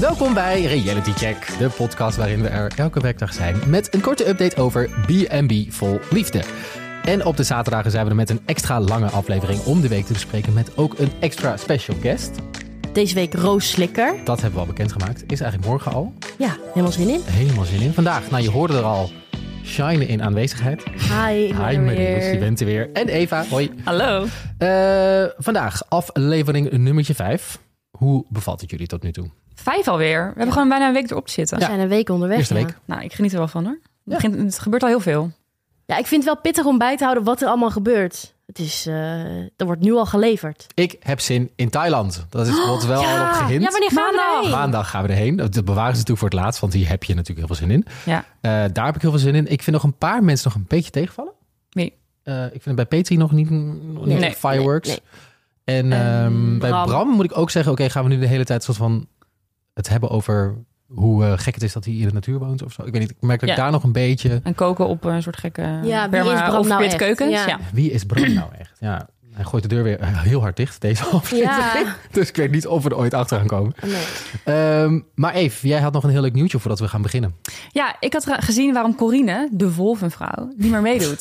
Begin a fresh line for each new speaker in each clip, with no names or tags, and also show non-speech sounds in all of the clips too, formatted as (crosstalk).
Welkom bij Reality Check, de podcast waarin we er elke werkdag zijn met een korte update over B&B vol liefde. En op de zaterdagen zijn we er met een extra lange aflevering om de week te bespreken met ook een extra special guest.
Deze week Roos Slikker.
Dat hebben we al bekendgemaakt. Is eigenlijk morgen al.
Ja, helemaal zin in.
Helemaal zin in. Vandaag, nou je hoorde er al, Shine in aanwezigheid.
Hi, ik ben
Hi
er
Marius,
weer.
je bent er weer. En Eva, hoi.
Hallo.
Eh, vandaag aflevering nummertje 5. Hoe bevalt het jullie tot nu toe?
Vijf alweer. We hebben gewoon bijna een week erop te zitten.
We zijn een week onderweg.
Eerste
ja.
week.
Nou, ik geniet er wel van hoor. Het, begint, het gebeurt al heel veel.
Ja, ik vind het wel pittig om bij te houden wat er allemaal gebeurt. Het is, eh, er wordt nu al geleverd.
Ik heb zin in Thailand. Dat is wat wel al op gehind.
(gasps) Ja, wanneer gaan we
Maandag.
erheen?
Maandag gaan we erheen. Dat bewaren ze natuurlijk voor het laatst, want hier heb je natuurlijk heel veel zin in.
Ja.
Eh, daar heb ik heel veel zin in. Ik vind nog een paar mensen nog een beetje tegenvallen.
Wie?
Eh, ik vind het bij Petri nog niet, nog niet
Nee.
echt fireworks.
Nee,
En ehm, bij Bram.
Bram.
moet ik ook zeggen, oké, gaan we nu de hele tijd soort van het hebben over hoe eh, gek het is dat hij in de natuur woont of zo. Ik weet niet, ik merk dat ik
Ja.
daar nog een beetje...
En koken op een soort gekke
Ja, wie is
perma
Bram
of
nou
pit
echt?
keukens.
Ja.
Ja.
Wie is Bram nou echt? Ja, hij gooit de deur weer eh, heel hard dicht deze (laughs) aflevering.
Ja.
Dus ik weet niet of we er ooit achter gaan komen.
(laughs) Nee.
Ehm, maar Eve, jij had nog een heel leuk nieuwtje voordat we gaan beginnen.
Ja, ik had gezien waarom Corine, de wolvenvrouw, niet meer
(laughs)
meedoet.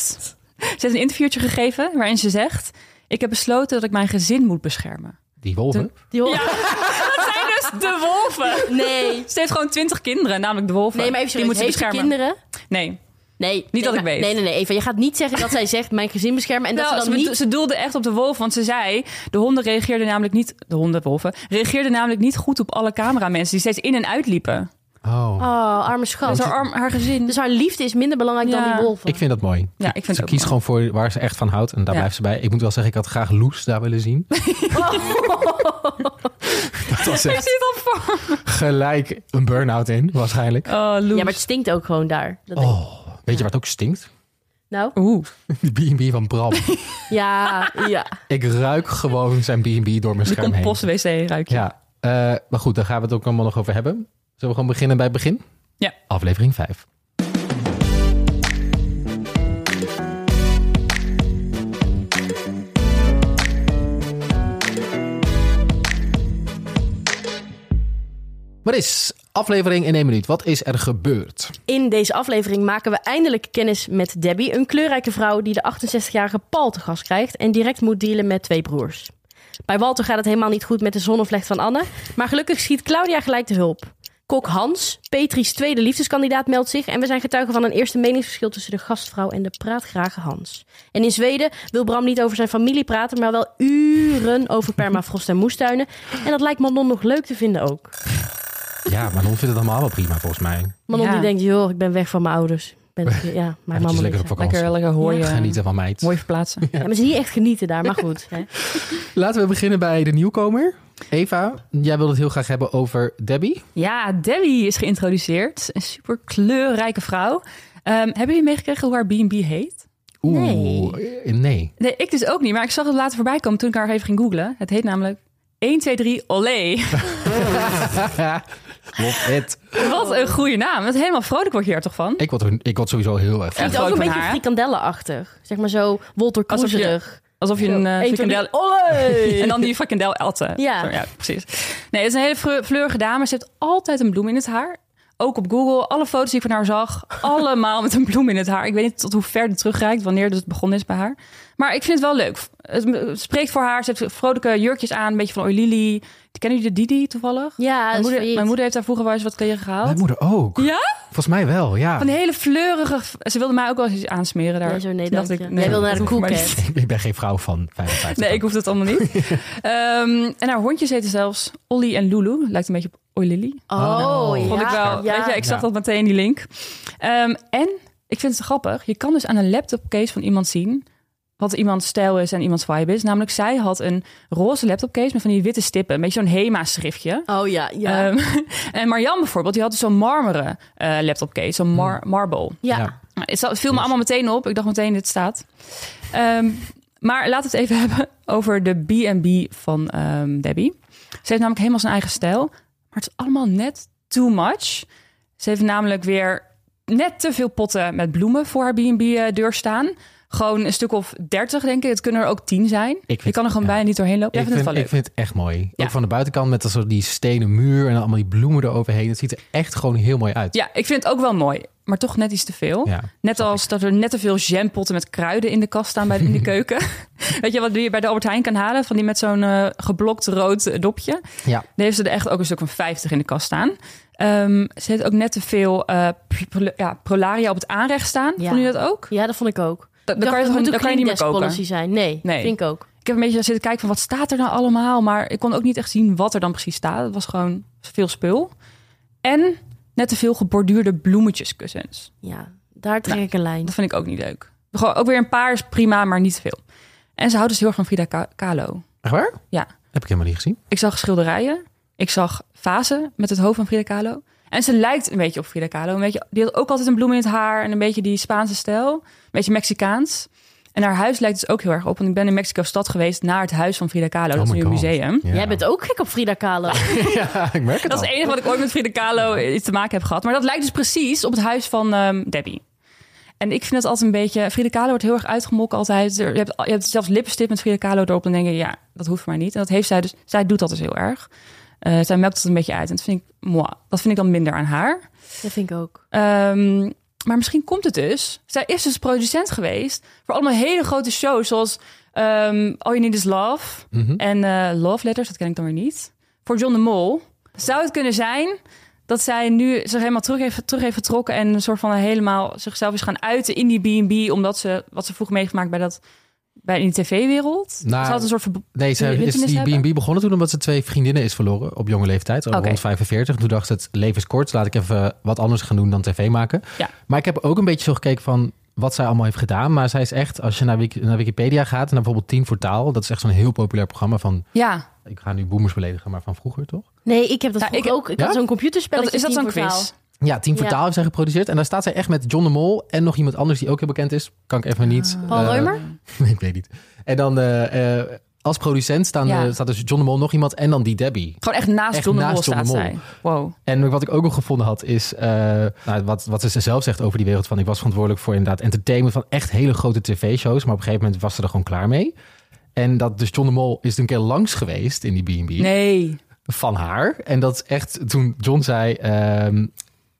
ze heeft een interviewtje gegeven waarin ze zegt... Ik heb besloten dat ik mijn gezin moet beschermen.
Die wolven.
Die hoor-
Dat zijn dus de wolven.
nee.
Ze heeft gewoon twintig kinderen, namelijk de wolven.
Nee, maar even
Die
serieus.
moet ze
Heeft ze
beschermen.
kinderen?
Nee.
Nee. Nee,
dat ik
maar-
weet.
Nee, nee, nee. Eva, je gaat niet zeggen dat (laughs) zij zegt mijn gezin beschermen. En dat
Wel,
Nou, ze
Nou, ze,
dan
bedo-
niet...
ze doelde echt op de wolf, want ze zei... de honden reageerden namelijk niet... de honden, wolven... reageerden namelijk niet goed op alle cameramensen... die steeds in en uitliepen.
Oh.
Oh, arme
Dus
schat.
haar, arm, haar gezin...
Dus haar liefde is minder belangrijk dan
Ja.
die wolven.
Ik vind dat mooi.
Ja, Oh, ik vind het
ze
ook
kiest
mooi.
gewoon voor waar ze echt van houdt en daar
Ja. Oh.
blijft ze bij. Ik moet wel zeggen, ik had graag Loes daar willen
(laughs)
zien. dat was
Is (laughs)
echt
dit al voor?
gelijk een burn-out in, waarschijnlijk.
Oh, Loes.
Ja, maar het stinkt ook gewoon daar. Dat denk ik.
Oh, weet je waar het ook stinkt? (laughs)
Nou,
Oeh.
Die B&B van
(laughs)
Bram.
ja, ja.
ik ruik gewoon zijn B&B door mijn
Die
scherm heen.
compost-wc ruik je.
Ja, eh, maar goed, daar gaan we het ook allemaal nog over hebben. Zullen we gewoon beginnen bij het begin?
Ja.
Aflevering 5. Wat is aflevering in één minuut? Wat is er gebeurd?
In deze aflevering maken we eindelijk kennis met Debbie, een kleurrijke vrouw die de 68-jarige Paul te gast krijgt en direct moet dealen met twee broers. Bij Walter gaat het helemaal niet goed met de zonnevlecht van Anne, maar gelukkig schiet Claudia gelijk de hulp. Kok Hans, Petri's tweede liefdeskandidaat, meldt zich en we zijn getuigen van een eerste meningsverschil tussen de gastvrouw en de praatgrage Hans. En in Zweden wil Bram niet over zijn familie praten, maar wel uren over permafrost en moestuinen. En dat lijkt Manon nog leuk te vinden ook.
Ja, maar dan vindt het allemaal wel prima volgens mij.
Manon
Ja.
die denkt, joh, ik ben weg van mijn ouders.
(laughs)
Ben, ja, mijn mama
Eventjes lekker
lekker
op vakantie.
Lekker, lekker hooi. eh,
Genieten van meid.
Mooi verplaatsen.
Ja, maar ze is niet echt genieten daar,
(laughs)
maar goed. Hè.
Laten we beginnen bij de nieuwkomer. Eva, jij wilde het heel graag hebben over Debbie.
Ja, Debbie is geïntroduceerd. Een super kleurrijke vrouw. Ehm, hebben jullie meegekregen hoe haar B&B heet?
Oeh, eh,
(laughs)
nee.
Nee, ik dus ook niet. Maar ik zag het later voorbij komen toen ik haar even ging googlen. Het heet namelijk 1, 2, 3, olé.
Love it.
Wat een goede naam. Wat helemaal vrolijk word je er toch van?
Ik word, er- ik word sowieso heel erg
Het
vrolijk.
is ook
Groot
een
van
beetje
haar, hè?
frikandellenachtig. Zeg maar zo Wolter
Alsof je-
Kroeserig.
Alsof je een eh,
Eén, twee,
frikandel...
drie, olé!
(laughs) En dan die frikandel elten.
Ja.
Zo, ja, precies. Nee, het is een hele fleur- fleurige dame. Ze heeft altijd een bloem in het haar. Ook op Google. Alle foto's die ik van haar zag, (laughs) allemaal met een bloem in het haar. Ik weet niet tot hoe ver het terugreikt, wanneer het begonnen is bij haar. Maar ik vind het wel leuk. Het m- spreekt voor haar. Ze heeft vrolijke jurkjes aan, een beetje van Oilili. Kennen jullie de Didi toevallig?
Ja,
mijn,
is
moeder,
failliet.
mijn moeder heeft daar vroeger wel eens wat tegen gehaald.
Mijn moeder ook.
Ja?
Volgens mij wel, ja.
Van die hele fleurige... Ze wilde mij ook wel eens iets aansmeren daar.
Nee, zo, nee,
Toen dacht
dank
ik,
je. Jij wil naar de
dat hoeft mij
koelkast.
niet.
(laughs) ik ben geen vrouw van 55.
(laughs) Nee, ik hoef dat allemaal niet. Ehm, en haar hondjes heten zelfs Olly en Lulu. Lijkt een beetje op Oi Lily.
Oh,
Oh,
ja.
Vond ik wel.
ja.
Weet je, ik zag
Ja.
dat meteen die link. Ehm, en ik vind het grappig. Je kan dus aan een laptopcase van iemand zien wat iemands stijl is en iemands vibe is. Namelijk, zij had een roze laptopcase met van die witte stippen. Een beetje zo'n HEMA-schriftje.
Oh ja, ja.
Ehm, (laughs) en Marjan bijvoorbeeld, die had dus zo'n marmeren eh, laptopcase. Zo'n mar- marble.
ja.
Nou, Het zat- viel me allemaal meteen op. Ik dacht meteen, dit staat. Ehm, maar laten we het even (laughs) hebben over de B&B van ehm, Debbie. Ze heeft namelijk helemaal zijn eigen stijl. Maar het is allemaal net too much. Ze heeft namelijk weer net te veel potten met bloemen voor haar B&B-deur eh, staan. Gewoon een stuk of dertig, denk ik. Het kunnen er ook tien zijn.
vind-
je kan er gewoon
ja.
bijna niet doorheen lopen.
Ik
Jij
vind,
vindt
ik
het wel
vind
leuk.
het echt mooi.
Ja.
Ook van de buitenkant met dat soort die stenen muur en dan allemaal die bloemen eroverheen. Het ziet er echt gewoon heel mooi uit.
Ja, ik vind het ook wel mooi. Maar toch net iets te veel.
Ja,
Net als dat er net te veel jampotten met kruiden in de kast staan bij de,
(laughs)
in de keuken. Weet je wat je bij de Albert Heijn kan halen? Van die met zo'n eh, geblokt rood eh, dopje.
Ja.
Dan heeft ze er echt ook een stuk van 50 in de kast staan. Ehm, ze heeft ook net te veel eh, pr- pr- ja, prolaria op het aanrecht staan.
Ja.
Vond je dat ook?
Ja, dat vond ik ook.
Da-
Ik
Dan kan je,
dacht,
gewoon,
dat
dan
moet
kan je niet meer
een
koken.
policy zijn. Nee,
Nee.
vind ik ook.
Ik heb een beetje zitten kijken van wat staat er nou allemaal. Maar ik kon ook niet echt zien wat er dan precies staat. Het was gewoon veel spul. En net te veel geborduurde bloemetjeskussens.
Ja, daar trek
Nou,
ik een lijn.
Dat vind ik ook niet leuk. Gewoon, ook weer een paar is prima, maar niet veel. En ze houdt dus heel erg van Frida Ka- Kahlo.
Echt waar?
Ja.
Heb ik helemaal niet gezien.
Ik zag schilderijen. Ik zag vazen met het hoofd van Frida Kahlo. En ze lijkt een beetje op Frida Kahlo. Een beetje, die had ook altijd een bloem in het haar en een beetje die Spaanse stijl. Een beetje Mexicaans. En haar huis lijkt dus ook heel erg op. Want ik ben in Mexico stad geweest naar het huis van Frida Kahlo. dat is
Oh my
nu een
God.
museum.
Ja.
Jij bent ook gek op Frida
(laughs)
Kahlo.
(laughs) Ja, ik merk het
Dat is
al.
het enige wat ik ooit met Frida Kahlo iets te maken heb gehad. Maar dat lijkt dus precies op het huis van ehm, Debbie. En ik vind dat altijd een beetje... Frida Kahlo wordt heel erg uitgemokt altijd. Er- Je hebt, je hebt zelfs lippenstift met Frida Kahlo erop. Dan denk je, ja, dat hoeft maar niet. En dat heeft zij dus... Zij doet dat dus heel erg. Eh, zij melkt het een beetje uit. En dat vind ik, moi, dat vind ik dan minder aan haar.
dat vind ik ook.
Ehm, maar misschien komt het dus. Zij is dus producent geweest voor allemaal hele grote shows. Zoals ehm All You Need Is Love
Mhm.
en eh, Love Letters. Dat ken ik dan weer niet. Voor John de Mol. Zou het kunnen zijn dat zij nu zich helemaal terug heeft, terug heeft vertrokken... en een soort van helemaal zichzelf is gaan uiten in die B&B... omdat ze wat ze vroeg meegemaakt bij, dat, bij in de tv-wereld.
Nou,
Ze had een soort verb-
Nee,
Wil
ze
je
is
internet
die B&B
hebben?
begonnen toen omdat ze twee vriendinnen is verloren op jonge leeftijd,
Oké.
rond 45. Toen dacht ze, het leven is kort, laat ik even wat anders gaan doen dan tv maken.
Ja.
Maar ik heb ook een beetje zo gekeken van wat zij allemaal heeft gedaan. Maar zij is echt, als je naar, Wiki- naar Wikipedia gaat en dan bijvoorbeeld 10 voor taal, dat is echt zo'n heel populair programma van,
Ja,
ik ga nu boomers beledigen, maar van vroeger toch?
Nee, ik heb dat
Ja,
vroeger
ik-
ook. Ik
Ja?
had zo'n computerspelletje.
dat, is dat
Team
zo'n
Portaal.
quiz?
Ja, 10 voor
Ja.
taal heeft zij geproduceerd. En daar staat zij echt met John de Mol en nog iemand anders die ook heel bekend is. Kan ik even niet.
Ah. Paul
eh,
Reumer?
(laughs) Nee, ik weet niet. En dan eh, eh, als producent staan,
Ja.
eh, staat dus John de Mol, nog iemand en dan die Debbie.
Gewoon echt naast
Echt
John de
naast
Mol
John de
staat zij. Wow.
En wat ik ook nog gevonden had, is eh, nou, wat, wat ze zelf zegt over die wereld. Van ik was verantwoordelijk voor inderdaad entertainment van echt hele grote tv-shows. Maar op een gegeven moment was ze er gewoon klaar mee. En dat dus John de Mol is een keer langs geweest in die B&B
Nee.
van haar. En dat is echt toen John zei... ehm,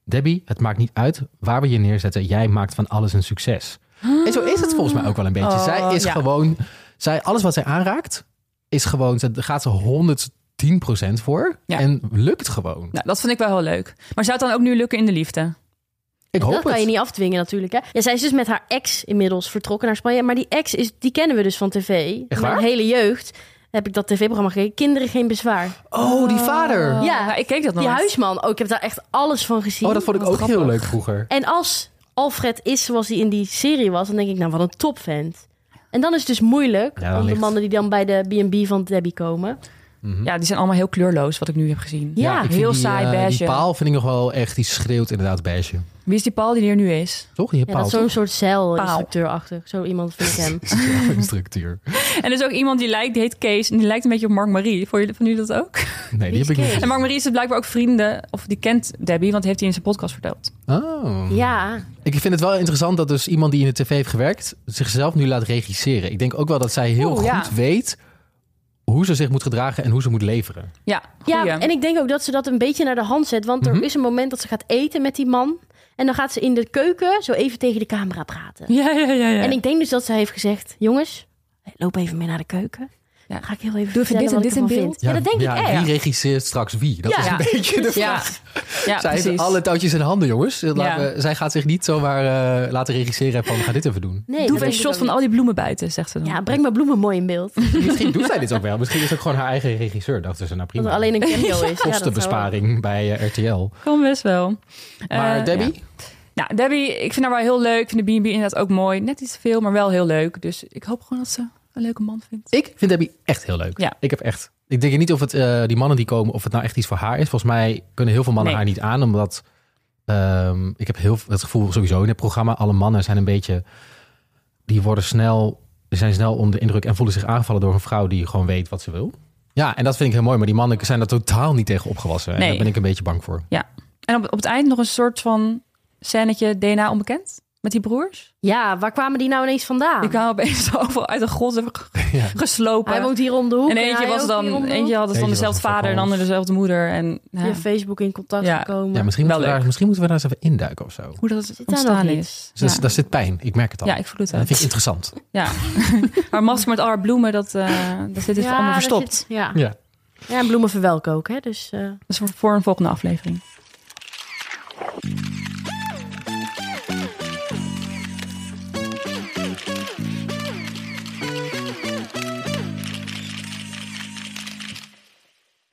Debbie, het maakt niet uit waar we je neerzetten. Jij maakt van alles een succes. En zo is het volgens mij ook wel een beetje.
Oh,
zij is
ja.
gewoon... Zij, alles wat zij aanraakt, is gewoon... Ze gaat ze 110% voor.
Ja.
En lukt gewoon.
Nou, dat vond ik wel heel leuk. Maar zou het dan ook nu lukken in de liefde?
ik hoop
dat kan
het.
je niet afdwingen natuurlijk. Hè? Ja, zij is dus met haar ex inmiddels vertrokken naar Spanje. Maar die ex, is, die kennen we dus van tv.
Echt waar?
Mijn hele jeugd heb ik dat tv-programma gekeken. Kinderen geen bezwaar.
Oh, die vader.
Ja,
Ja.
ik keek dat nog.
Die huisman, oh, ik heb daar echt alles van gezien.
Oh, dat vond ik ook
Wat grappig.
heel leuk vroeger.
En als Alfred is zoals hij in die serie was, dan denk ik, nou, wat een topvent. En dan is het dus moeilijk
Ja, dan
om de
ligt-
mannen die dan bij de B&B van Debbie komen.
Mhm.
Ja, die zijn allemaal heel kleurloos, wat ik nu heb gezien.
Ja,
ik vind
heel
die,
saai
eh,
beige.
Die paal vind ik nog wel echt, die schreeuwt inderdaad beige.
Wie is die Paul die er nu is?
Toch? Die
Ja,
paal,
dat is zo'n soort
Paal.
cel-instructeur-achtig. Zo iemand vind ik
(laughs)
hem.
toch? structuur.
(laughs)
En er is ook iemand die lijkt, die heet Kees. En die lijkt een beetje op Mark Marie. Vond jullie van nu dat ook?
Nee, die
Wie
heb ik niet.
is
En Mark
gezien.
Marie is dus blijkbaar ook vrienden. Of die kent Debbie, want die heeft hij in zijn podcast verteld.
Oh.
ja,
Ik vind het wel interessant dat dus iemand die in de tv heeft gewerkt... zichzelf nu laat regisseren. Ik denk ook wel dat zij heel
Oeh,
goed
ja.
weet... hoe ze zich moet gedragen en hoe ze moet leveren.
Ja, goeie.
Ja, en ik denk ook dat ze dat een beetje naar de hand zet. Want
Mhm.
er is een moment dat ze gaat eten met die man. En dan gaat ze in de keuken zo even tegen de camera praten.
ja, ja, ja, ja.
En ik denk dus dat ze heeft gezegd... Jongens, loop even mee naar de keuken.
Ja.
Dan ga ik heel even
Doe even
vertellen
dit en
wat
dit
ik ervan
in
vind.
beeld.
Ja, dat denk ik echt.
Wie regisseert straks wie? Dat
Ja.
is een
Ja.
(laughs) beetje de
ja.
vraag. zij
ja, precies.
heeft alle touwtjes in handen, jongens. Laten
Ja.
we- zij gaat zich niet zomaar eh, laten regisseren en van... ga dit even doen.
Nee,
Doe
dat
even een
denk ik
shot
ook
van
niet.
al die bloemen buiten, zegt ze dan.
Ja, breng mijn bloemen mooi in beeld. Dat
Misschien doet zij dit ook wel. Misschien is het ook gewoon haar eigen regisseur. Dachten ze, nou prima.
er alleen een cameo is. Ja, dat zou-
kostenbesparing bij eh, RTL.
Kan best wel.
Maar
Eh,
Debbie?
Nou, Debbie, ik vind haar wel heel leuk. Ik vind de B&B inderdaad ook mooi. Net iets te veel, maar wel heel leuk. Dus ik hoop gewoon dat ze een leuke man vindt.
Ik vind Debbie echt heel leuk.
Ja.
Ik heb echt. Ik denk niet of het eh, die mannen die komen, of het nou echt iets voor haar is. Volgens mij kunnen heel veel mannen
Nee.
haar niet aan, omdat ehm, ik heb heel het gevoel sowieso in het programma alle mannen zijn een beetje, die worden snel, die zijn snel onder de indruk en voelen zich aangevallen door een vrouw die gewoon weet wat ze wil. Ja, en dat vind ik heel mooi. Maar die mannen zijn daar totaal niet tegen opgewassen. En
Nee.
daar ben ik een beetje bang voor.
En op, op het eind nog een soort van scènetje DNA onbekend? Met die broers?
Ja, waar kwamen die nou ineens vandaan?
Die kwamen opeens (laughs) over uit de grond en
(laughs) Ja.
geslopen.
Hij woont hier om de hoek.
en eentje,
hij
was
ook hier om
dan,
de
eentje had dus
Eentje
dan
was
dezelfde
een
vader en de
verpals.
ander dezelfde moeder. En
hoek.
nou,
Via Facebook in contact
Ja.
gekomen.
Ja, misschien moeten, we
Wel
daar,
leuk.
misschien moeten we daar eens even induiken of zo.
hoe dat
daar
ontstaan
nog
is.
Dus dat is-
ja.
Daar zit pijn, ik merk het al.
Ja, ik voel het wel.
dat vind ik interessant.
Ja. haar masker met al haar bloemen, dat, eh dat zit dit
Ja,
allemaal
daar
verstopt.
zit- ja.
Ja.
ja, en bloemen verwelken ook. Hè? Dus, eh,
Dat is voor, voor een volgende aflevering.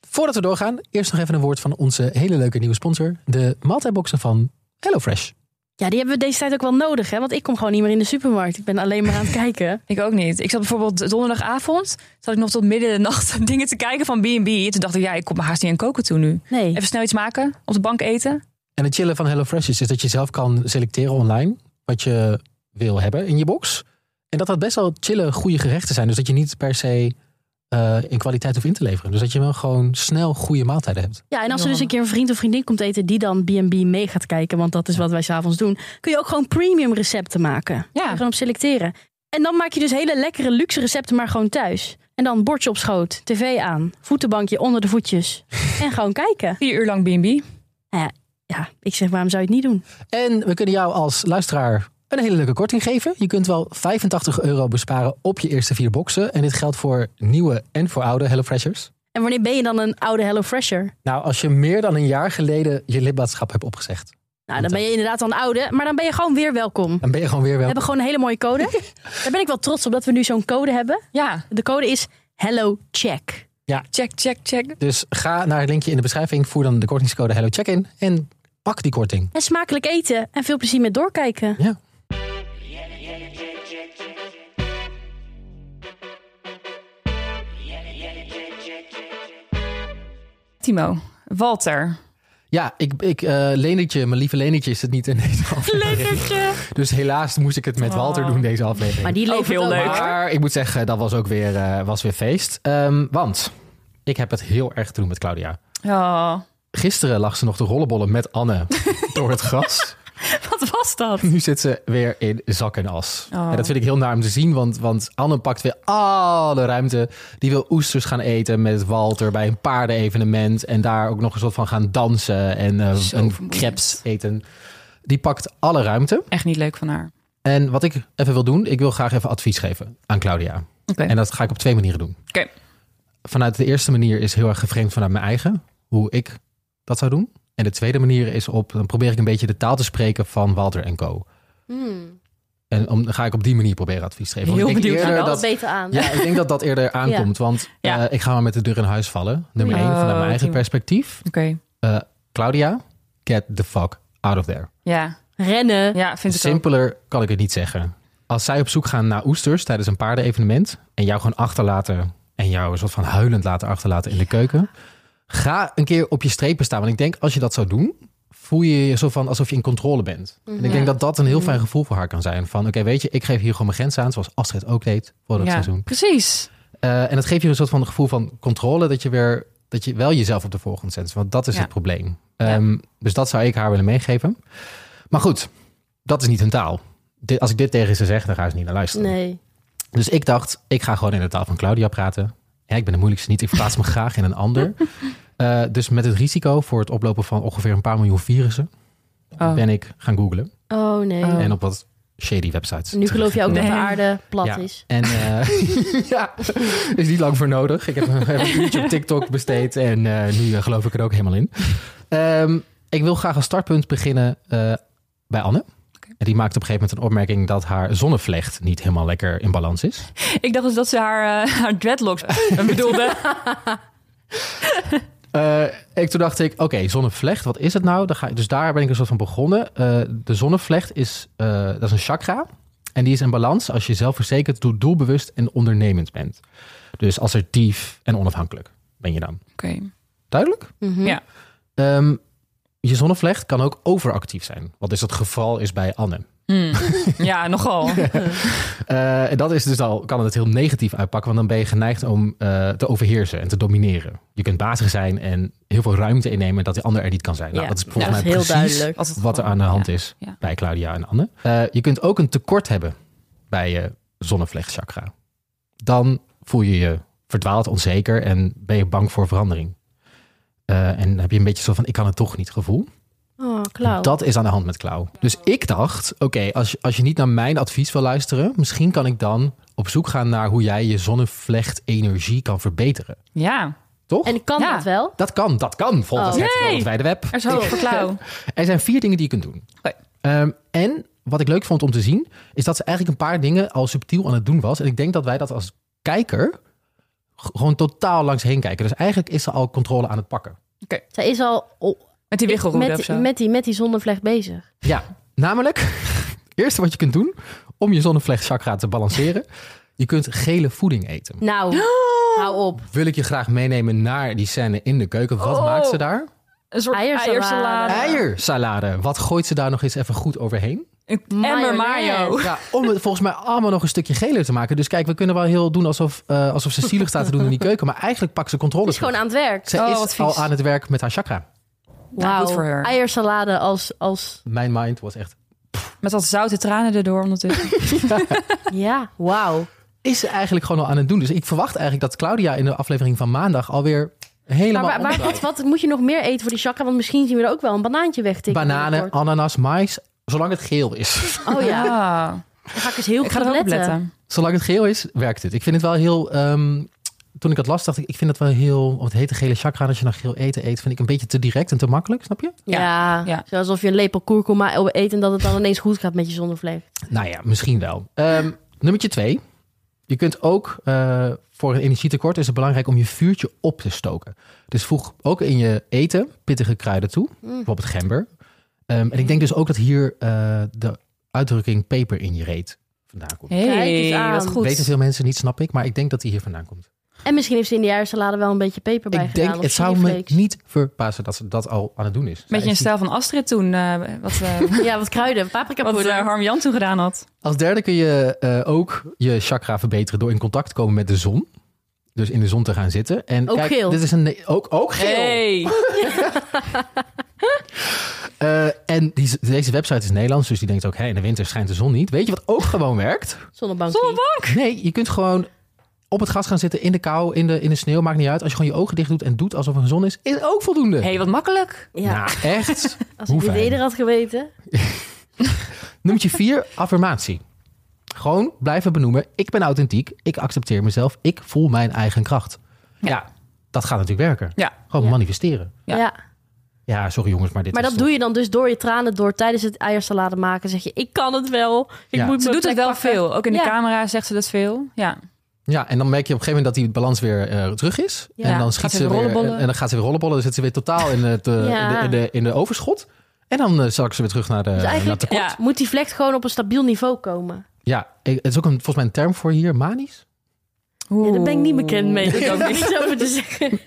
Voordat we doorgaan, eerst nog even een woord van onze hele leuke nieuwe sponsor. De maaltijdboxen van HelloFresh.
Ja, die hebben we deze tijd ook wel nodig. Hè? Want ik kom gewoon niet meer in de supermarkt. Ik ben alleen maar aan het kijken.
Ik ook niet. Ik zat bijvoorbeeld donderdagavond, zat ik nog tot midden in de nacht (laughs) dingen te kijken van B&B. Toen dacht ik, ja, ik kom me haast niet aan koken toe nu.
(laughs) Nee.
Even snel iets maken, op de bank eten.
En het chillen van HelloFresh is, is dat je zelf kan selecteren online wat je wil hebben in je box. En dat dat best wel chille, goede gerechten zijn. Dus dat je niet per se eh, in kwaliteit hoeft in te leveren. Dus dat je wel gewoon snel goede maaltijden hebt.
Ja, en als er
Johan.
dus een keer een vriend of vriendin komt eten die dan B&B mee gaat kijken, want dat is wat wij s'avonds doen, kun je ook gewoon premium recepten maken. Ja.
Ja.
gewoon op selecteren. En dan maak je dus hele lekkere luxe recepten maar gewoon thuis. En dan bordje op schoot, tv aan, voetenbankje onder de (laughs) voetjes en gewoon kijken.
Vier uur lang B&B.
Ja, ik zeg waarom zou je het niet doen?
En we kunnen jou als luisteraar een hele leuke korting geven. Je kunt wel 85 euro besparen op je eerste vier boxen. En dit geldt voor nieuwe en voor oude HelloFreshers.
En wanneer ben je dan een oude Hello Fresher?
Nou, als je meer dan een jaar geleden je lidmaatschap hebt opgezegd,
Nou, dan ben je inderdaad al een oude, maar dan ben je gewoon weer welkom.
dan ben je gewoon weer
We
wel.
hebben gewoon een hele mooie code. (laughs) Daar ben ik wel trots op dat we nu zo'n code hebben.
Ja,
De code is Hello Check.
check, check, check.
Dus ga naar het linkje in de beschrijving, voer dan de kortingscode Hello Check in en pak die korting.
En smakelijk eten en veel plezier met doorkijken.
Ja.
Timo, Walter.
Ja, ik, ik eh, Lenertje, mijn lieve Lenertje is het niet in deze aflevering. Dus helaas moest ik het met Walter
Oh.
doen deze aflevering.
Maar die
Ook
leeft
heel
ook.
leuk.
Maar ik moet zeggen, dat was ook weer, eh, was weer feest. Ehm, want ik heb het heel erg te doen met Claudia.
(laughs)
Oh,
Gisteren lag ze nog te rollenbollen met
(laughs)
Anne door het gras.
wat was dat?
Nu zit ze weer in zak en as.
Oh.
En dat vind ik heel naar om te zien, want, want Anne pakt weer alle ruimte. Die wil oesters gaan eten met Walter bij een paardenevenement. En daar ook nog een soort van gaan dansen en eh,
Zo
een
vermoeiend.
crepes eten. Die pakt alle ruimte.
Echt niet leuk van haar.
En wat ik even wil doen, ik wil graag even advies geven aan Claudia.
Oké.
En dat ga ik op twee manieren doen.
Oké.
Vanuit de eerste manier is heel erg gevreemd vanuit mijn eigen, hoe ik dat zou doen. En de tweede manier is op, dan probeer ik een beetje de taal te spreken van Walter en Co.
Hmm.
En om, dan ga ik op die manier proberen advies te geven. Want
Heel
ik denk
benieuwd naar
eerder
dat.
dat,
beter aan.
Ja, ik denk dat dat
(laughs)
eerder aankomt. Want
Ja.
eh, ik ga maar met de deur in huis vallen. Nummer
Ja.
één, vanuit mijn
Oh,
eigen
die-
perspectief. Eh,
Oké.
Claudia, get the fuck out of there.
Ja.
Rennen.
ja, vind ik ook.
Simpeler kan ik het niet zeggen. Als zij op zoek gaan naar oesters tijdens een paardenevenement... en jou gewoon achterlaten en jou een soort van huilend laten achterlaten in de keuken... ga een keer op je strepen staan. Want ik denk, als je dat zou doen... voel je je zo van alsof je in controle bent. En
Mhm.
ik denk dat dat een heel fijn gevoel voor haar kan zijn. Van, oké, weet je, ik geef hier gewoon mijn grens aan... zoals Astrid ook deed voor het
Ja,
seizoen.
precies.
Eh, en dat geeft je een soort van gevoel van controle... dat je, weer, dat je wel jezelf op de voorgrond zet. Want dat is
Ja.
het probleem. Ehm, Dus dat zou ik haar willen meegeven. Maar goed, dat is niet hun taal. Dit, als ik dit tegen ze zeg, dan gaan ze niet naar luisteren.
Nee.
Dus ik dacht, ik ga gewoon in de taal van Claudia praten. Ja, ik ben de moeilijkste niet. Ik verplaats
(laughs)
me graag in een ander. Eh, dus met het risico voor het oplopen van ongeveer een paar miljoen virussen...
Oh.
ben ik gaan googlen.
Oh nee.
Oh.
En op wat shady websites.
Nu geloof je ook dat de
Nee.
aarde plat
Ja.
is.
En eh, (laughs) ja, is niet lang voor nodig. Ik heb nog even een uurtje op TikTok besteed en eh, nu eh, geloof ik er ook helemaal in. Ehm, ik wil graag als startpunt beginnen eh, bij Anne. En die maakt op een gegeven moment een opmerking dat haar zonnevlecht niet helemaal lekker in balans is.
Ik dacht dus dat ze haar, eh, haar
(laughs)
dreadlocks (laughs) bedoelde.
Eh, ik, toen dacht ik, oké, zonnevlecht, wat is het nou? Dan ga, dus daar ben ik een soort van begonnen. Eh, de zonnevlecht is, eh, dat is een chakra. En die is in balans als je zelfverzekerd, doel- doelbewust en ondernemend bent. Dus assertief en onafhankelijk ben je dan.
Oké.
Duidelijk?
Mhm.
Ja.
Ehm, je zonnevlecht kan ook overactief zijn. Wat dus het geval is bij Anne.
Hmm. Ja, nogal.
(laughs) Eh, en dat is dus al, kan het heel negatief uitpakken, want dan ben je geneigd om eh, te overheersen en te domineren. Je kunt bazig zijn en heel veel ruimte innemen dat de ander er niet kan zijn. Nou,
Ja,
dat is volgens
dat is
mij
heel
precies
duidelijk.
Altijd
wat er
gewoon,
aan de hand
ja.
is bij Claudia en Anne. Eh, je kunt ook een tekort hebben bij je zonnevlechtchakra. Dan voel je je verdwaald, onzeker en ben je bang voor verandering. Eh, en dan heb je een beetje zo van, ik kan het toch niet gevoel.
Oh, Klauw.
Dat is aan de hand met Klauw. Dus ik dacht, oké, als, je- als je niet naar mijn advies wil luisteren... misschien kan ik dan op zoek gaan naar hoe jij je zonnevlechtenergie kan verbeteren.
Ja,
Toch?
En kan
Ja.
dat wel?
Dat kan, dat kan, volgens
Oh.
het
Yay!
wereldwijde web.
er is hoop voor Klauw.
Er zijn vier dingen die je kunt doen.
Oké.
Ehm, en wat ik leuk vond om te zien, is dat ze eigenlijk een paar dingen al subtiel aan het doen was. En ik denk dat wij dat als kijker g- gewoon totaal langs heen kijken. Dus eigenlijk is ze al controle aan het pakken.
Zij is al oh,
Met die wiggelroede of
met,
zo.
met, die, met die zonnevlecht bezig.
Ja, namelijk, (laughs) het eerste wat je kunt doen om je zonnevlechtchakra te balanceren, je kunt gele voeding eten.
Nou, hou op.
Wil ik je graag meenemen naar die scène in de keuken. Wat
Oh.
maakt ze daar?
Een soort
Eiersalade.
eiersalade.
Eiersalade. Wat gooit ze daar nog eens even goed overheen?
Een emmer mayo.
Mayonaise.
Ja, om het volgens mij allemaal nog een stukje geler te maken. Dus kijk, we kunnen wel heel doen alsof, eh, alsof ze zielig staat te doen in die keuken. Maar eigenlijk pakt ze controle
Is gewoon
terug.
aan het werk.
Ze
Oh, wat
is
vies.
al aan het werk met haar chakra.
Nou, goed voor haar.
Eiersalade als, als...
Mijn mind was echt...
Met wat zoute tranen erdoor ondertussen.
Ja, wauw.
Is ze eigenlijk gewoon al aan het doen. Dus ik verwacht eigenlijk dat Claudia in de aflevering van maandag alweer
Maar
helemaal...
waar, waar-
omdraait.
wat, wat moet je nog meer eten voor die chakra? Want misschien zien we er ook wel een banaantje wegtikken.
(laughs) Bananen,
binnenkort.
ananas, mais. Zolang het geel is. (laughs)
Oh ja,
Ah.
daar ga ik eens heel
Ik
goed
ga er ook op letten.
Zolang het geel is, werkt het. Ik vind het wel heel... ehm, toen ik dat las, dacht ik, ik vind het wel heel... Want het heet de gele chakra, en als je naar geel eten eet... vind ik een beetje te direct en te makkelijk, snap je?
Ja,
ja.
Zo alsof je een lepel kurkuma eet en dat het dan ineens goed gaat met je zonnevlees.
Nou ja, misschien wel. Ehm nummertje twee. Je kunt ook eh, voor een energietekort is het belangrijk om je vuurtje op te stoken. Dus voeg ook in je eten pittige kruiden toe,
Mm.
bijvoorbeeld gember. Ehm, en ik denk dus ook dat hier eh, de uitdrukking peper in je reet vandaan komt.
Kijk
Hé,
eens aan.
wat goed.
Weten veel mensen niet, snap ik, maar ik denk dat die hier vandaan komt.
En misschien heeft ze in die eiersalade wel een beetje peper bij
ik
gedaan.
denk,
of
het zou me
chiliflakes.
niet verbazen dat ze dat al aan het doen is. Zij
Beetje in
is
stijl van Astrid toen. eh, wat
(laughs)
eh
Ja, wat
(laughs)
kruiden, paprika
wat eh,
poeder.
Harm Jan toen gedaan had.
Als derde kun je eh, ook je chakra verbeteren door in contact te komen met de zon. Dus in de zon te gaan zitten. En
Ook
kijk,
geel.
Dit is een, ook, ook geel.
Hey.
Eh, en die, deze website is Nederlands, dus die denkt ook... hé, in de winter schijnt de zon niet. Weet je wat ook gewoon werkt?
Zonnebankje.
Nee, je kunt gewoon op het gas gaan zitten, in de kou, in de, in de sneeuw. Maakt niet uit. Als je gewoon je ogen dicht doet en doet alsof er een zon is, is ook voldoende.
Hé, wat makkelijk.
Ja,
Nou, echt.
(laughs) als
Hoe
ik dit
fijn.
eerder had geweten.
Nummertje vier, affirmatie. Gewoon blijven benoemen. Ik ben authentiek. Ik accepteer mezelf. Ik voel mijn eigen kracht.
Ja.
Dat gaat natuurlijk werken.
Ja.
Gewoon
Ja.
manifesteren.
Ja.
Ja.
Ja, sorry jongens, maar dit
Maar
is
dat doe je dan dus door je tranen door tijdens het eiersalade maken. Zeg je, ik kan het wel. Ik
Ja.
moet
Ze
mijn
doet het
plek
wel
pakken.
veel. Ook in de
Ja.
camera zegt ze dat veel. Ja.
Ja, en dan merk je op een gegeven moment dat die balans weer eh, terug is.
Ja.
En dan
Gaat
schiet
ze
ze
weer
weer en,
rollenbollen.
en dan gaat ze weer rollenbollen. Dan zit ze weer totaal in, het, eh,
Ja.
in, de, in, de, in de overschot. En dan eh zak ze weer terug naar de...
Dus eigenlijk
naar de
Ja.
moet die vlecht gewoon op een stabiel niveau komen.
ja, eh, het is ook een, volgens mij een term voor hier, manisch.
Ja, daar ben ik niet bekend
(laughs)
mee.
(laughs)
Ik ook niet.
Iets over te zeggen.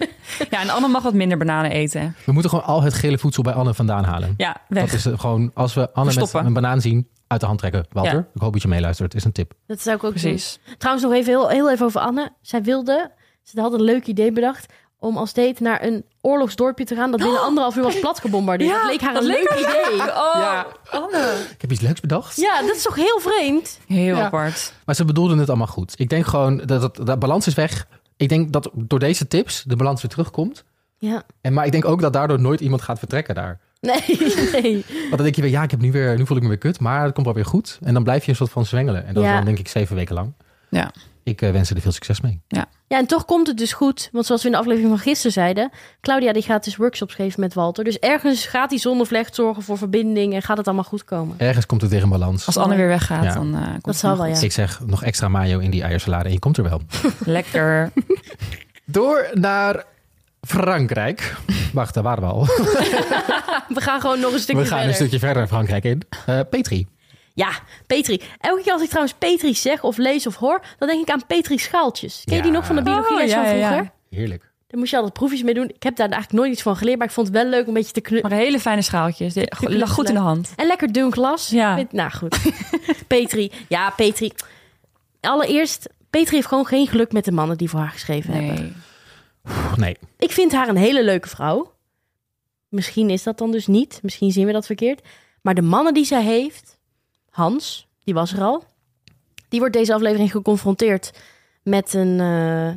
Ja, en Anne mag wat minder bananen eten.
We moeten gewoon al het gele voedsel bij Anne vandaan halen.
Ja,
Dat
weg.
is eh, gewoon, als we Anne met
Verstoppen.
een banaan zien, uit de hand trekken. Walter,
Ja.
ik hoop dat je meeluistert. is een tip.
Dat zou ik ook Precies.
Precies.
Trouwens, nog even heel, heel even over Anne. Zij wilde, ze had een leuk idee bedacht om als date naar een oorlogsdorpje te gaan. Dat binnen anderhalf uur was plat gebombardeerd. dat leek haar een leuk idee.
(laughs) Oh,
Ja.
Anne.
Ik heb iets leuks bedacht.
Ja, dat is toch heel vreemd?
Heel
Ja.
apart.
Maar ze bedoelden het allemaal goed. Ik denk gewoon, dat, dat, dat balans is weg. Ik denk dat door deze tips de balans weer terugkomt.
Ja.
En, maar ik denk ook dat daardoor nooit iemand gaat vertrekken daar.
Nee, (laughs) nee.
Want dan denk je weer, ja, ik heb nu weer, nu voel ik me weer kut, maar het komt wel weer goed. En dan blijf je een soort van zwengelen. En dat
Ja.
dan denk ik zeven weken lang.
Ja.
Ik eh, wens je er veel succes mee.
Ja, en toch komt het dus goed. Want zoals we in de aflevering van gisteren zeiden... Claudia die gaat dus workshops geven met Walter. Dus ergens gaat die zonnevlecht zorgen voor verbinding... en gaat het allemaal goed komen.
Ergens komt het weer in balans.
Als Anne weer weggaat,
Ja.
dan eh, komt
Dat
het
zal
nog
wel, ja.
goed.
Ik zeg nog extra mayo in die eiersalade en je komt er wel.
Lekker.
Door naar Frankrijk. Wacht, daar waren we al.
(laughs) We gaan gewoon nog een stukje
we gaan een
verder.
stukje verder Frankrijk in. Eh, Petri.
Ja, Petri. Elke keer als ik trouwens Petri zeg of lees of hoor... dan denk ik aan Petri Schaaltjes. Ken je die
Ja.
nog van de (laughs) biologie
Oh,
les
ja,
van
ja, ja.
vroeger?
Heerlijk.
Daar moest je altijd proefjes mee doen. Ik heb daar eigenlijk nooit iets van geleerd, maar ik vond het wel leuk om een beetje te knutselen.
Maar hele fijne schaaltjes. Die
die
lag goed in de hand.
En lekker dun glas.
Ja.
Met- nou goed. (laughs) Petri. Ja, Petri. Allereerst, Petri heeft gewoon geen geluk met de mannen die voor haar geschreven hebben.
Nee.
Pff, nee.
Ik vind haar een hele leuke vrouw. Misschien is dat dan dus niet. Misschien zien we dat verkeerd. Maar de mannen die zij heeft, Hans, die was er al. Die wordt deze aflevering geconfronteerd met een eh,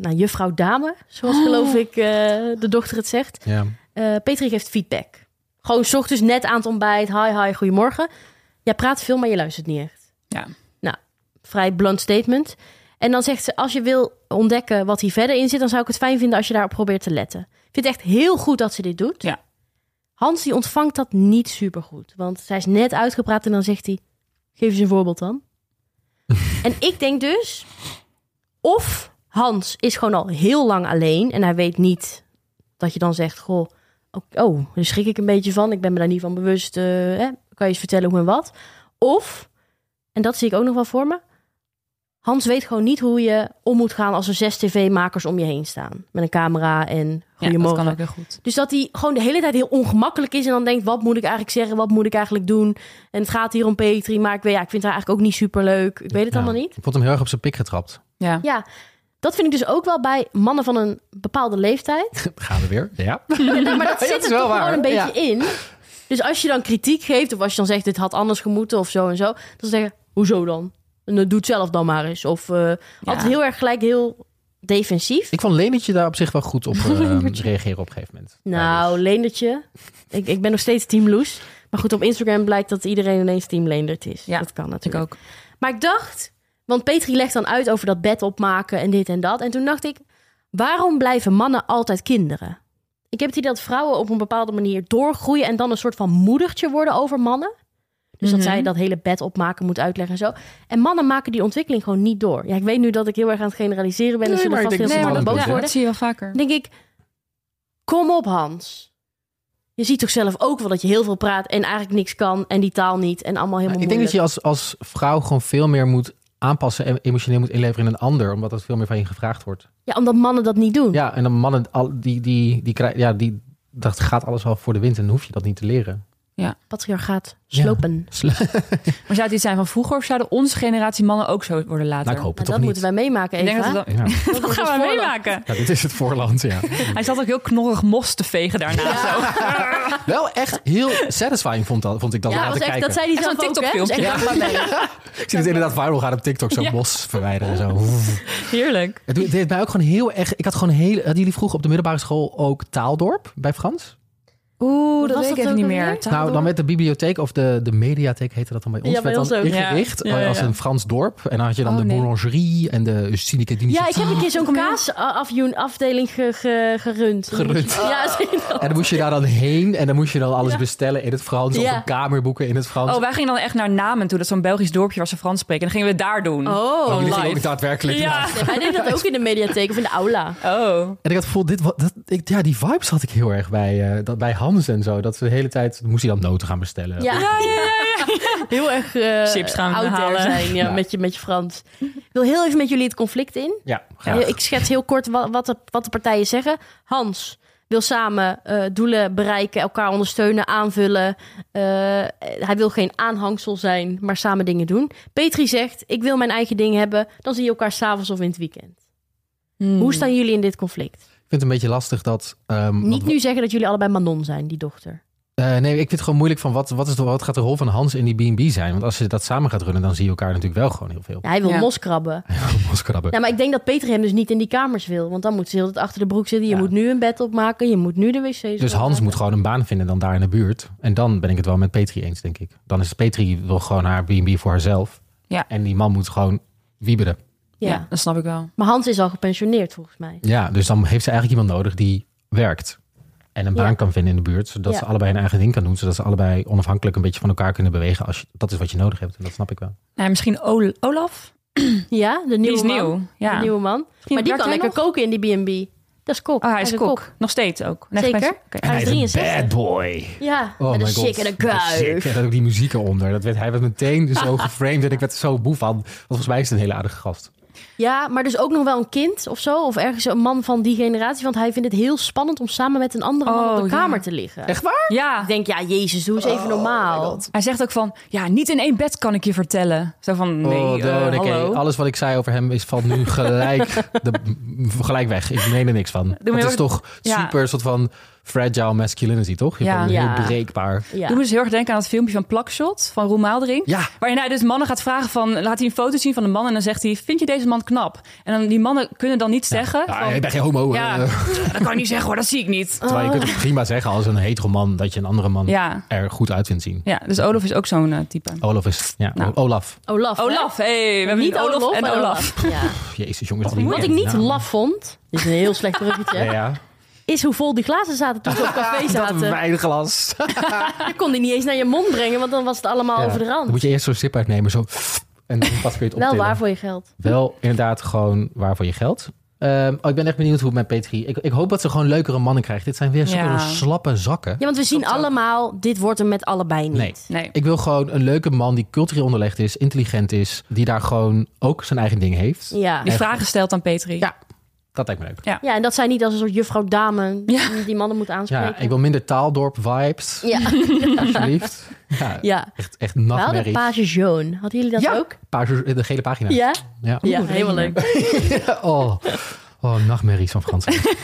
nou, juffrouw dame. Zoals geloof ik eh, de dochter het zegt.
Ja.
Eh, Petri geeft feedback. Gewoon 's ochtends net aan het ontbijt. Hi, hi, goedemorgen. Jij praat veel, maar je luistert niet echt.
Ja.
Nou, vrij blunt statement. En dan zegt ze, als je wil ontdekken wat hier verder in zit... dan zou ik het fijn vinden als je daarop probeert te letten. Ik vind het echt heel goed dat ze dit doet.
Ja.
Hans die ontvangt dat niet supergoed. Want zij is net uitgepraat en dan zegt hij... geef eens een voorbeeld dan. en ik denk dus... of Hans is gewoon al heel lang alleen... en hij weet niet dat je dan zegt... goh, oh, oh, daar schrik ik een beetje van. Ik ben me daar niet van bewust. eh, hè? Kan je eens vertellen hoe en wat? Of, en dat zie ik ook nog wel voor me... Hans weet gewoon niet hoe je om moet gaan... als er zes tv-makers om je heen staan. Met een camera en
Ja, dat
goedemorgen.
kan ook heel goed.
Dus dat hij gewoon de hele tijd heel ongemakkelijk is en dan denkt: wat moet ik eigenlijk zeggen? Wat moet ik eigenlijk doen? En het gaat hier om Petri, maar ik, weet, ja, ik vind haar eigenlijk ook niet superleuk. Ik weet het
Ja.
allemaal niet.
Ik vond hem heel erg op zijn pik getrapt.
Ja.
Ja, dat vind ik dus ook wel bij mannen van een bepaalde leeftijd.
Gaan we weer. (laughs) Ja.
Ja, maar dat
Ja,
zit
dat is
er
wel
toch
waar.
gewoon een beetje in. Dus als je dan kritiek geeft of als je dan zegt: dit had anders gemoeten of zo en zo, dan zeggen: hoezo dan? En dat doet zelf dan maar eens. Of eh, altijd heel erg gelijk heel defensief.
Ik vond Lenetje daar op zich wel goed
(laughs)
op eh, reageren op een gegeven moment. Ja, dus-
Nou, Leendertje. Ik, ik ben nog steeds Team Loes. Maar goed, op Instagram blijkt dat iedereen ineens Team Leendert is.
Ja,
dat kan
Ik
natuurlijk
ook.
Maar ik dacht, want Petri legt dan uit over dat bed opmaken en dit en dat. En toen dacht ik, waarom blijven mannen altijd kinderen? Ik heb het idee dat vrouwen op een bepaalde manier doorgroeien en dan een soort van moedertje worden over mannen. Dus dat
Mhm.
zij dat hele bed opmaken moet uitleggen en zo. En mannen maken die ontwikkeling gewoon niet door. Ja, ik weet nu dat ik heel erg aan het generaliseren ben.
Nee,
en zullen
maar ik
vast heel
denk
veel
dat
mannen
het anders
boos
is,
worden.
dat zie je wel vaker.
Dan denk ik, kom op Hans. Je ziet toch zelf ook wel dat je heel veel praat en eigenlijk niks kan en die taal niet en allemaal helemaal
ik denk dat je als, als vrouw gewoon veel meer moet aanpassen en emotioneel moet inleveren in een ander, omdat dat veel meer van je gevraagd wordt.
moeilijk. Ja, omdat mannen dat niet doen.
Ja, en dan mannen, al, die, die, die, krijgen, ja, die, dat gaat alles al voor de wind en dan hoef je dat niet te leren.
Patriarchaat slopen.
Sla-
Maar zou het iets zijn van vroeger of zouden onze generatie mannen ook zo worden later?
Nou, ik hoop het
Nou, dat
toch niet.
moeten wij meemaken,
Ik
Eva.
denk dat het dan...
Ja.
Dat
Dat
wordt
gaan
ons
we
voorbeeld.
meemaken.
Ja, dit is het voorland,
(laughs)
ja.
Hij zat ook heel knorrig mos te vegen daarna. Zo.
Wel echt heel satisfying vond, dat, vond ik dat om
Ja,
naar
was
te
echt,
kijken.
dat zei hij
Echt
zelf
zo'n
ook, hè? Dat is
TikTok-filmpje.
echt dankbaar mee.
Ik zie het inderdaad viral gaan op TikTok, zo'n
Ja.
bos verwijderen en zo.
Heerlijk.
Het doet- deed mij ook gewoon heel erg... Ik had gewoon heel... Hadden jullie vroeger op de middelbare school ook taaldorp bij Frans?
Oeh,
dat
dat
was
weet
dat
ik even
ook
niet
alweer?
meer.
Nou, dan werd de bibliotheek of de, de mediatheek heette dat dan bij ons.
Ja, bij
werd
ons
dan
ook.
ingericht eh,
Ja. Ja, ja,
als
ja.
een Frans dorp. En dan had je dan
Oh,
de
nee.
boulangerie en de cynieke
Ja,
dienst.
ik heb een keer zo'n
Kom hier.
kaasafdeling ge, ge, gerund.
Gerund.
Ja, (laughs) zie je dat?
En dan moest je daar dan heen en dan moest je dan alles bestellen in het Frans.
Ja.
Of een kamerboeken in het Frans.
Oh, wij gingen dan echt naar Namen toe. Dat is zo'n Belgisch dorpje waar ze Frans spreken. En dan gingen we het daar doen.
Oh,
jullie gingen
live.
ook daadwerkelijk
ja.
Nee, Hij deed dat ook in de mediatheek of in de aula.
Oh.
En ik had het gevoel, dit, wa- dat, ik, ja, die vibes had ik heel erg bij, eh, dat, bij Hans en zo. Dat ze de hele tijd, moest hij dan noten gaan bestellen.
Ja, Heel erg eh,
Chips gaan we
out there
halen.
zijn ja,
Ja.
Met, je, met je Frans. Ik wil heel even met jullie het conflict in.
ja graag.
Ja, Ik schets heel kort wa- wat de, wat de partijen zeggen. Hans wil samen eh, doelen bereiken, elkaar ondersteunen, aanvullen. Eh, hij wil geen aanhangsel zijn, maar samen dingen doen. Petri zegt, ik wil mijn eigen ding hebben. Dan zie je elkaar s'avonds of in het weekend.
Hmm.
Hoe staan jullie in dit conflict?
Ik vind het een beetje lastig dat... ehm, wat-
Niet nu zeggen dat jullie allebei Manon zijn, die dochter.
Eh, nee, ik vind het gewoon moeilijk van wat, wat, is de, wat gaat de rol van Hans in die B&B zijn? Want als je dat samen gaat runnen, dan zie je elkaar natuurlijk wel gewoon heel veel.
Ja, hij wil
Ja.
moskrabben.
Moskrabben.
Nou, maar ik denk dat Petri hem dus niet in die kamers wil. Want dan moet ze heel het achter de broek zitten. Je
Ja.
moet nu een bed opmaken, je moet nu de wc's
dus Hans moet gewoon een baan vinden dan daar in de buurt. En dan ben ik het wel met Petri eens, denk ik. Dan is Petri wil gewoon haar B&B voor haarzelf.
Ja.
En die man moet gewoon wieberen.
Ja.
Ja, dat snap ik wel.
Maar Hans is al gepensioneerd volgens mij.
Ja, dus dan heeft ze eigenlijk iemand nodig die werkt. En een baan
Ja.
kan vinden in de buurt. Zodat
Ja.
ze allebei hun eigen ding kan doen. Zodat ze allebei onafhankelijk een beetje van elkaar kunnen bewegen. Als je, dat is wat je nodig hebt. En dat snap ik wel.
Nou, misschien Ol- Olaf?
(laughs) Ja, de nieuwe
Die is
man.
nieuw. Ja.
De nieuwe man. maar die
werkt
kan
hij
lekker koken in die B&B. Dat is kok.
Oh, hij is kok. Nog steeds ook. Nee,
Zeker.
gepens- Oké.
En hij is
een
63.
bad boy.
Ja,
Oh
met een
my god.
chick en een
Wat sick.
kuif.
En dan ook dus die muziek eronder. Dat werd, hij werd meteen zo geframed en ik werd er zo boe van. Want volgens mij is het een hele aardige gast.
Ja, maar dus ook nog wel een kind of zo. Of ergens een man van die generatie. Want hij vindt het heel spannend om samen met een andere man op
Oh,
de
ja.
kamer te liggen.
Echt waar?
Ja,
Ik denk, ja, Jezus,
Oh
doe eens even normaal.
hij zegt ook van, ja, niet in één bed kan ik je vertellen. Zo van, nee,
oh,
eh,
dode kee.
hallo.
Alles wat ik zei over hem is, valt nu gelijk, de, gelijk weg. Ik meen er niks van. Want het
heel
is toch
ja.
super soort van fragile masculinity, toch? Je
Ja.
bent heel
Ja.
breekbaar.
Ja.
Doe me dus heel erg denken aan dat filmpje van Plakshot van Roel Maaldering.
Ja.
Waarin hij dus mannen gaat vragen van, laat hij een foto zien van een man en dan zegt hij, vind je deze man knap? En dan, die mannen kunnen dan niet zeggen.
Ja,
van,
ik ben geen homo.
ja,
eh.
(laughs) dat kan je niet zeggen hoor, dat zie ik niet.
Oh,
Terwijl je kunt het prima zeggen als een hetero man dat je een andere man
Ja,
er goed uit vindt zien.
ja dus Olaf is ook zo'n eh, type.
Olaf is, ja,
Nou.
Olaf.
Olaf. hè?
Olaf, hey, we hebben
Niet
nu
Olaf,
Olaf en
maar
Olaf.
Ja.
Pff, jezus jongens. wat
Wat ik
weekend.
niet
Ja.
laf vond, dit is een heel slecht bruggetje,
(laughs) Ja, ja.
is hoe vol die glazen zaten toen ze op café
Dat
zaten.
wijnglas.
Je kon die niet eens naar je mond brengen, want dan was het allemaal
Ja.
over de
Dan
rand.
moet je eerst zo'n sip uitnemen. Zo, en dan pas weer het
(laughs) Wel
optillen.
waar voor je geld.
Wel inderdaad gewoon waar voor je geld. Ehm, oh, ik ben echt benieuwd hoe het met Petri... Ik, ik hoop dat ze gewoon leukere mannen krijgt. Dit zijn weer zulke
Ja.
slappe zakken.
Ja, want we zien
Klopt ook.
allemaal, dit wordt hem met allebei niet.
Nee.
Nee.
Ik wil gewoon een leuke man die cultureel onderlegd is, intelligent is, die daar gewoon ook zijn eigen ding heeft.
Ja.
Die
Echt.
vragen stelt aan Petri.
Ja. Dat lijkt me leuk.
ja, en dat zij niet als een soort juffrouw-dame
Ja.
die mannen moet aanspreken.
Ja, ik wil minder taaldorp vibes,
(laughs) Ja,
alsjeblieft. Ja,
ja.
echt, echt
We hadden
nachtmerries.
Page Joan. Hadden jullie dat
Ja.
ook?
Page- de gele pagina.
Ja?
Ja.
Ja,
Oeh,
helemaal leuk.
Oh, oh nachtmerries van
(laughs)
Frankrijk.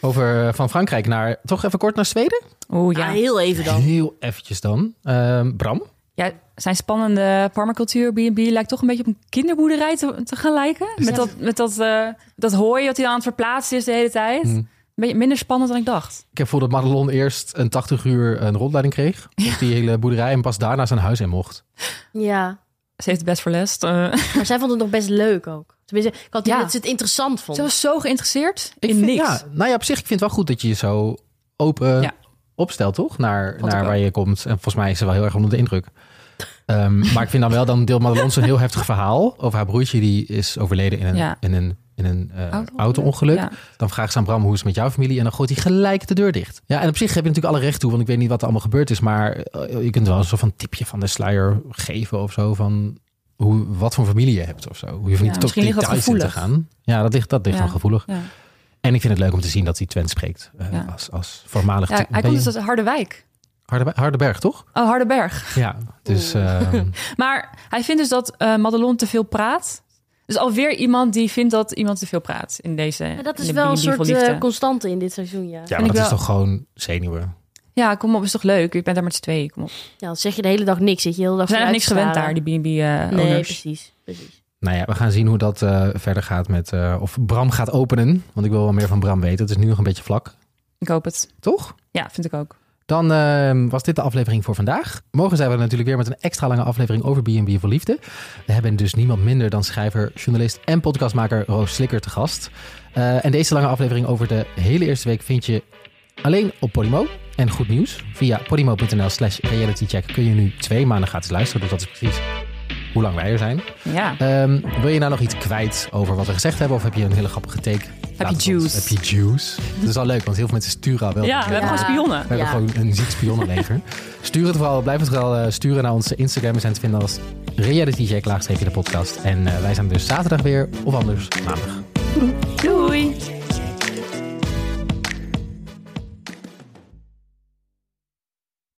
Over eh, van Frankrijk naar, toch even kort naar Zweden?
Oeh,
Ja,
ja.
Ah, heel
(laughs)
even dan.
Heel eventjes dan. Ehm, Bram?
ja. Zijn spannende permacultuur B&B lijkt toch een beetje op een kinderboerderij te, te gaan lijken. Met dat, met dat, eh, dat hooi dat hij aan het verplaatsen is de hele tijd.
Hmm.
Een beetje minder spannend dan ik dacht.
Ik heb voor dat Madelon eerst een 80 uur een rondleiding kreeg. Op die hele boerderij en pas daarna zijn huis in mocht.
Ja.
Ze heeft het best verlest. Eh
Maar zij vond het nog best leuk ook. Tenminste, ik had die
Ja.
dat ze het interessant vond.
ze was zo geïnteresseerd
Ik
in
vind-
niks.
Ja, nou ja, op zich, ik vind het wel goed dat je je zo open
Ja.
opstelt, toch? Naar,
ik
naar
ook.
waar je komt. En volgens mij is ze wel heel erg onder de indruk. Ehm, maar ik vind dan wel, dan deelt Madelon zo'n heel heftig verhaal over haar broertje. Die is overleden in een,
Ja.
in een, in een eh,
Auto-ongeluk.
auto-ongeluk.
Ja.
Dan vraagt ze aan Bram hoe is het met jouw familie. En dan gooit hij gelijk de deur dicht. Ja, en op zich heb je natuurlijk alle recht toe. Want ik weet niet wat er allemaal gebeurd is. Maar eh, je kunt wel een soort van tipje van de sluier geven of zo. Van hoe, wat voor familie je hebt of zo. Je hoeft
Ja,
niet tot
misschien ligt dat
details in te
gevoelig.
gaan. Ja, dat ligt, dat ligt
Ja.
wel gevoelig.
Ja.
En ik vind het leuk om te zien dat hij Twent spreekt. eh,
Ja.
als, als voormalig...
Ja, hij
Ben
komt
je-
dus uit Harderwijk.
Harderbe- Hardenberg, toch?
Oh, Harderberg.
Ja, dus...
(laughs)
ehm,
Maar hij vindt dus dat eh Madelon te veel praat. Dus alweer iemand die vindt dat iemand te veel praat in deze.
Ja, dat
in
is
de
wel een
B&B vol
soort
liefde.
eh, constante in dit seizoen, ja.
ja,
ik
maar dat is
wel-
toch gewoon zenuwen?
Ja, kom op, is toch leuk? Je bent daar met z'n tweeën, kom op. We
Ja, dan zeg je de hele dag niks. Zit je de hele dag
zijn nog
vooruit
niks
te
gewend daar,
staren.
die eh, B&B-owners.
Nee, precies. precies.
Nou ja, we gaan zien hoe dat eh, verder gaat met... eh, of Bram gaat openen. Want ik wil wel meer van Bram weten. Het is nu nog een beetje vlak.
Ik hoop het.
Toch?
Ja, vind ik ook.
Dan eh, was dit de aflevering voor vandaag. Morgen zijn we natuurlijk weer met een extra lange aflevering over B&B voor Liefde. We hebben dus niemand minder dan schrijver, journalist en podcastmaker Roos Slikker te gast. Eh, en deze lange aflevering over de hele eerste week vind je alleen op Podimo. En goed nieuws, via podimo.nl slash realitycheck kun je nu twee maanden gratis luisteren. Dus dat is precies hoe lang wij er zijn.
Ja.
Ehm, wil je nou nog iets kwijt over wat we gezegd hebben? Of heb je een hele grappige take? Laat het
juice?
ons. Heb je juice? Dat is wel leuk, want heel veel mensen sturen al wel.
Ja, we hebben
Ja.
gewoon spionnen.
We hebben
Ja.
gewoon een ziek spionnenleger. Stuur het vooral, blijf het vooral eh, sturen naar onze Instagram. We zijn te vinden als realitycheck laagstreepje de podcast. En eh, wij zijn dus zaterdag weer, of anders maandag.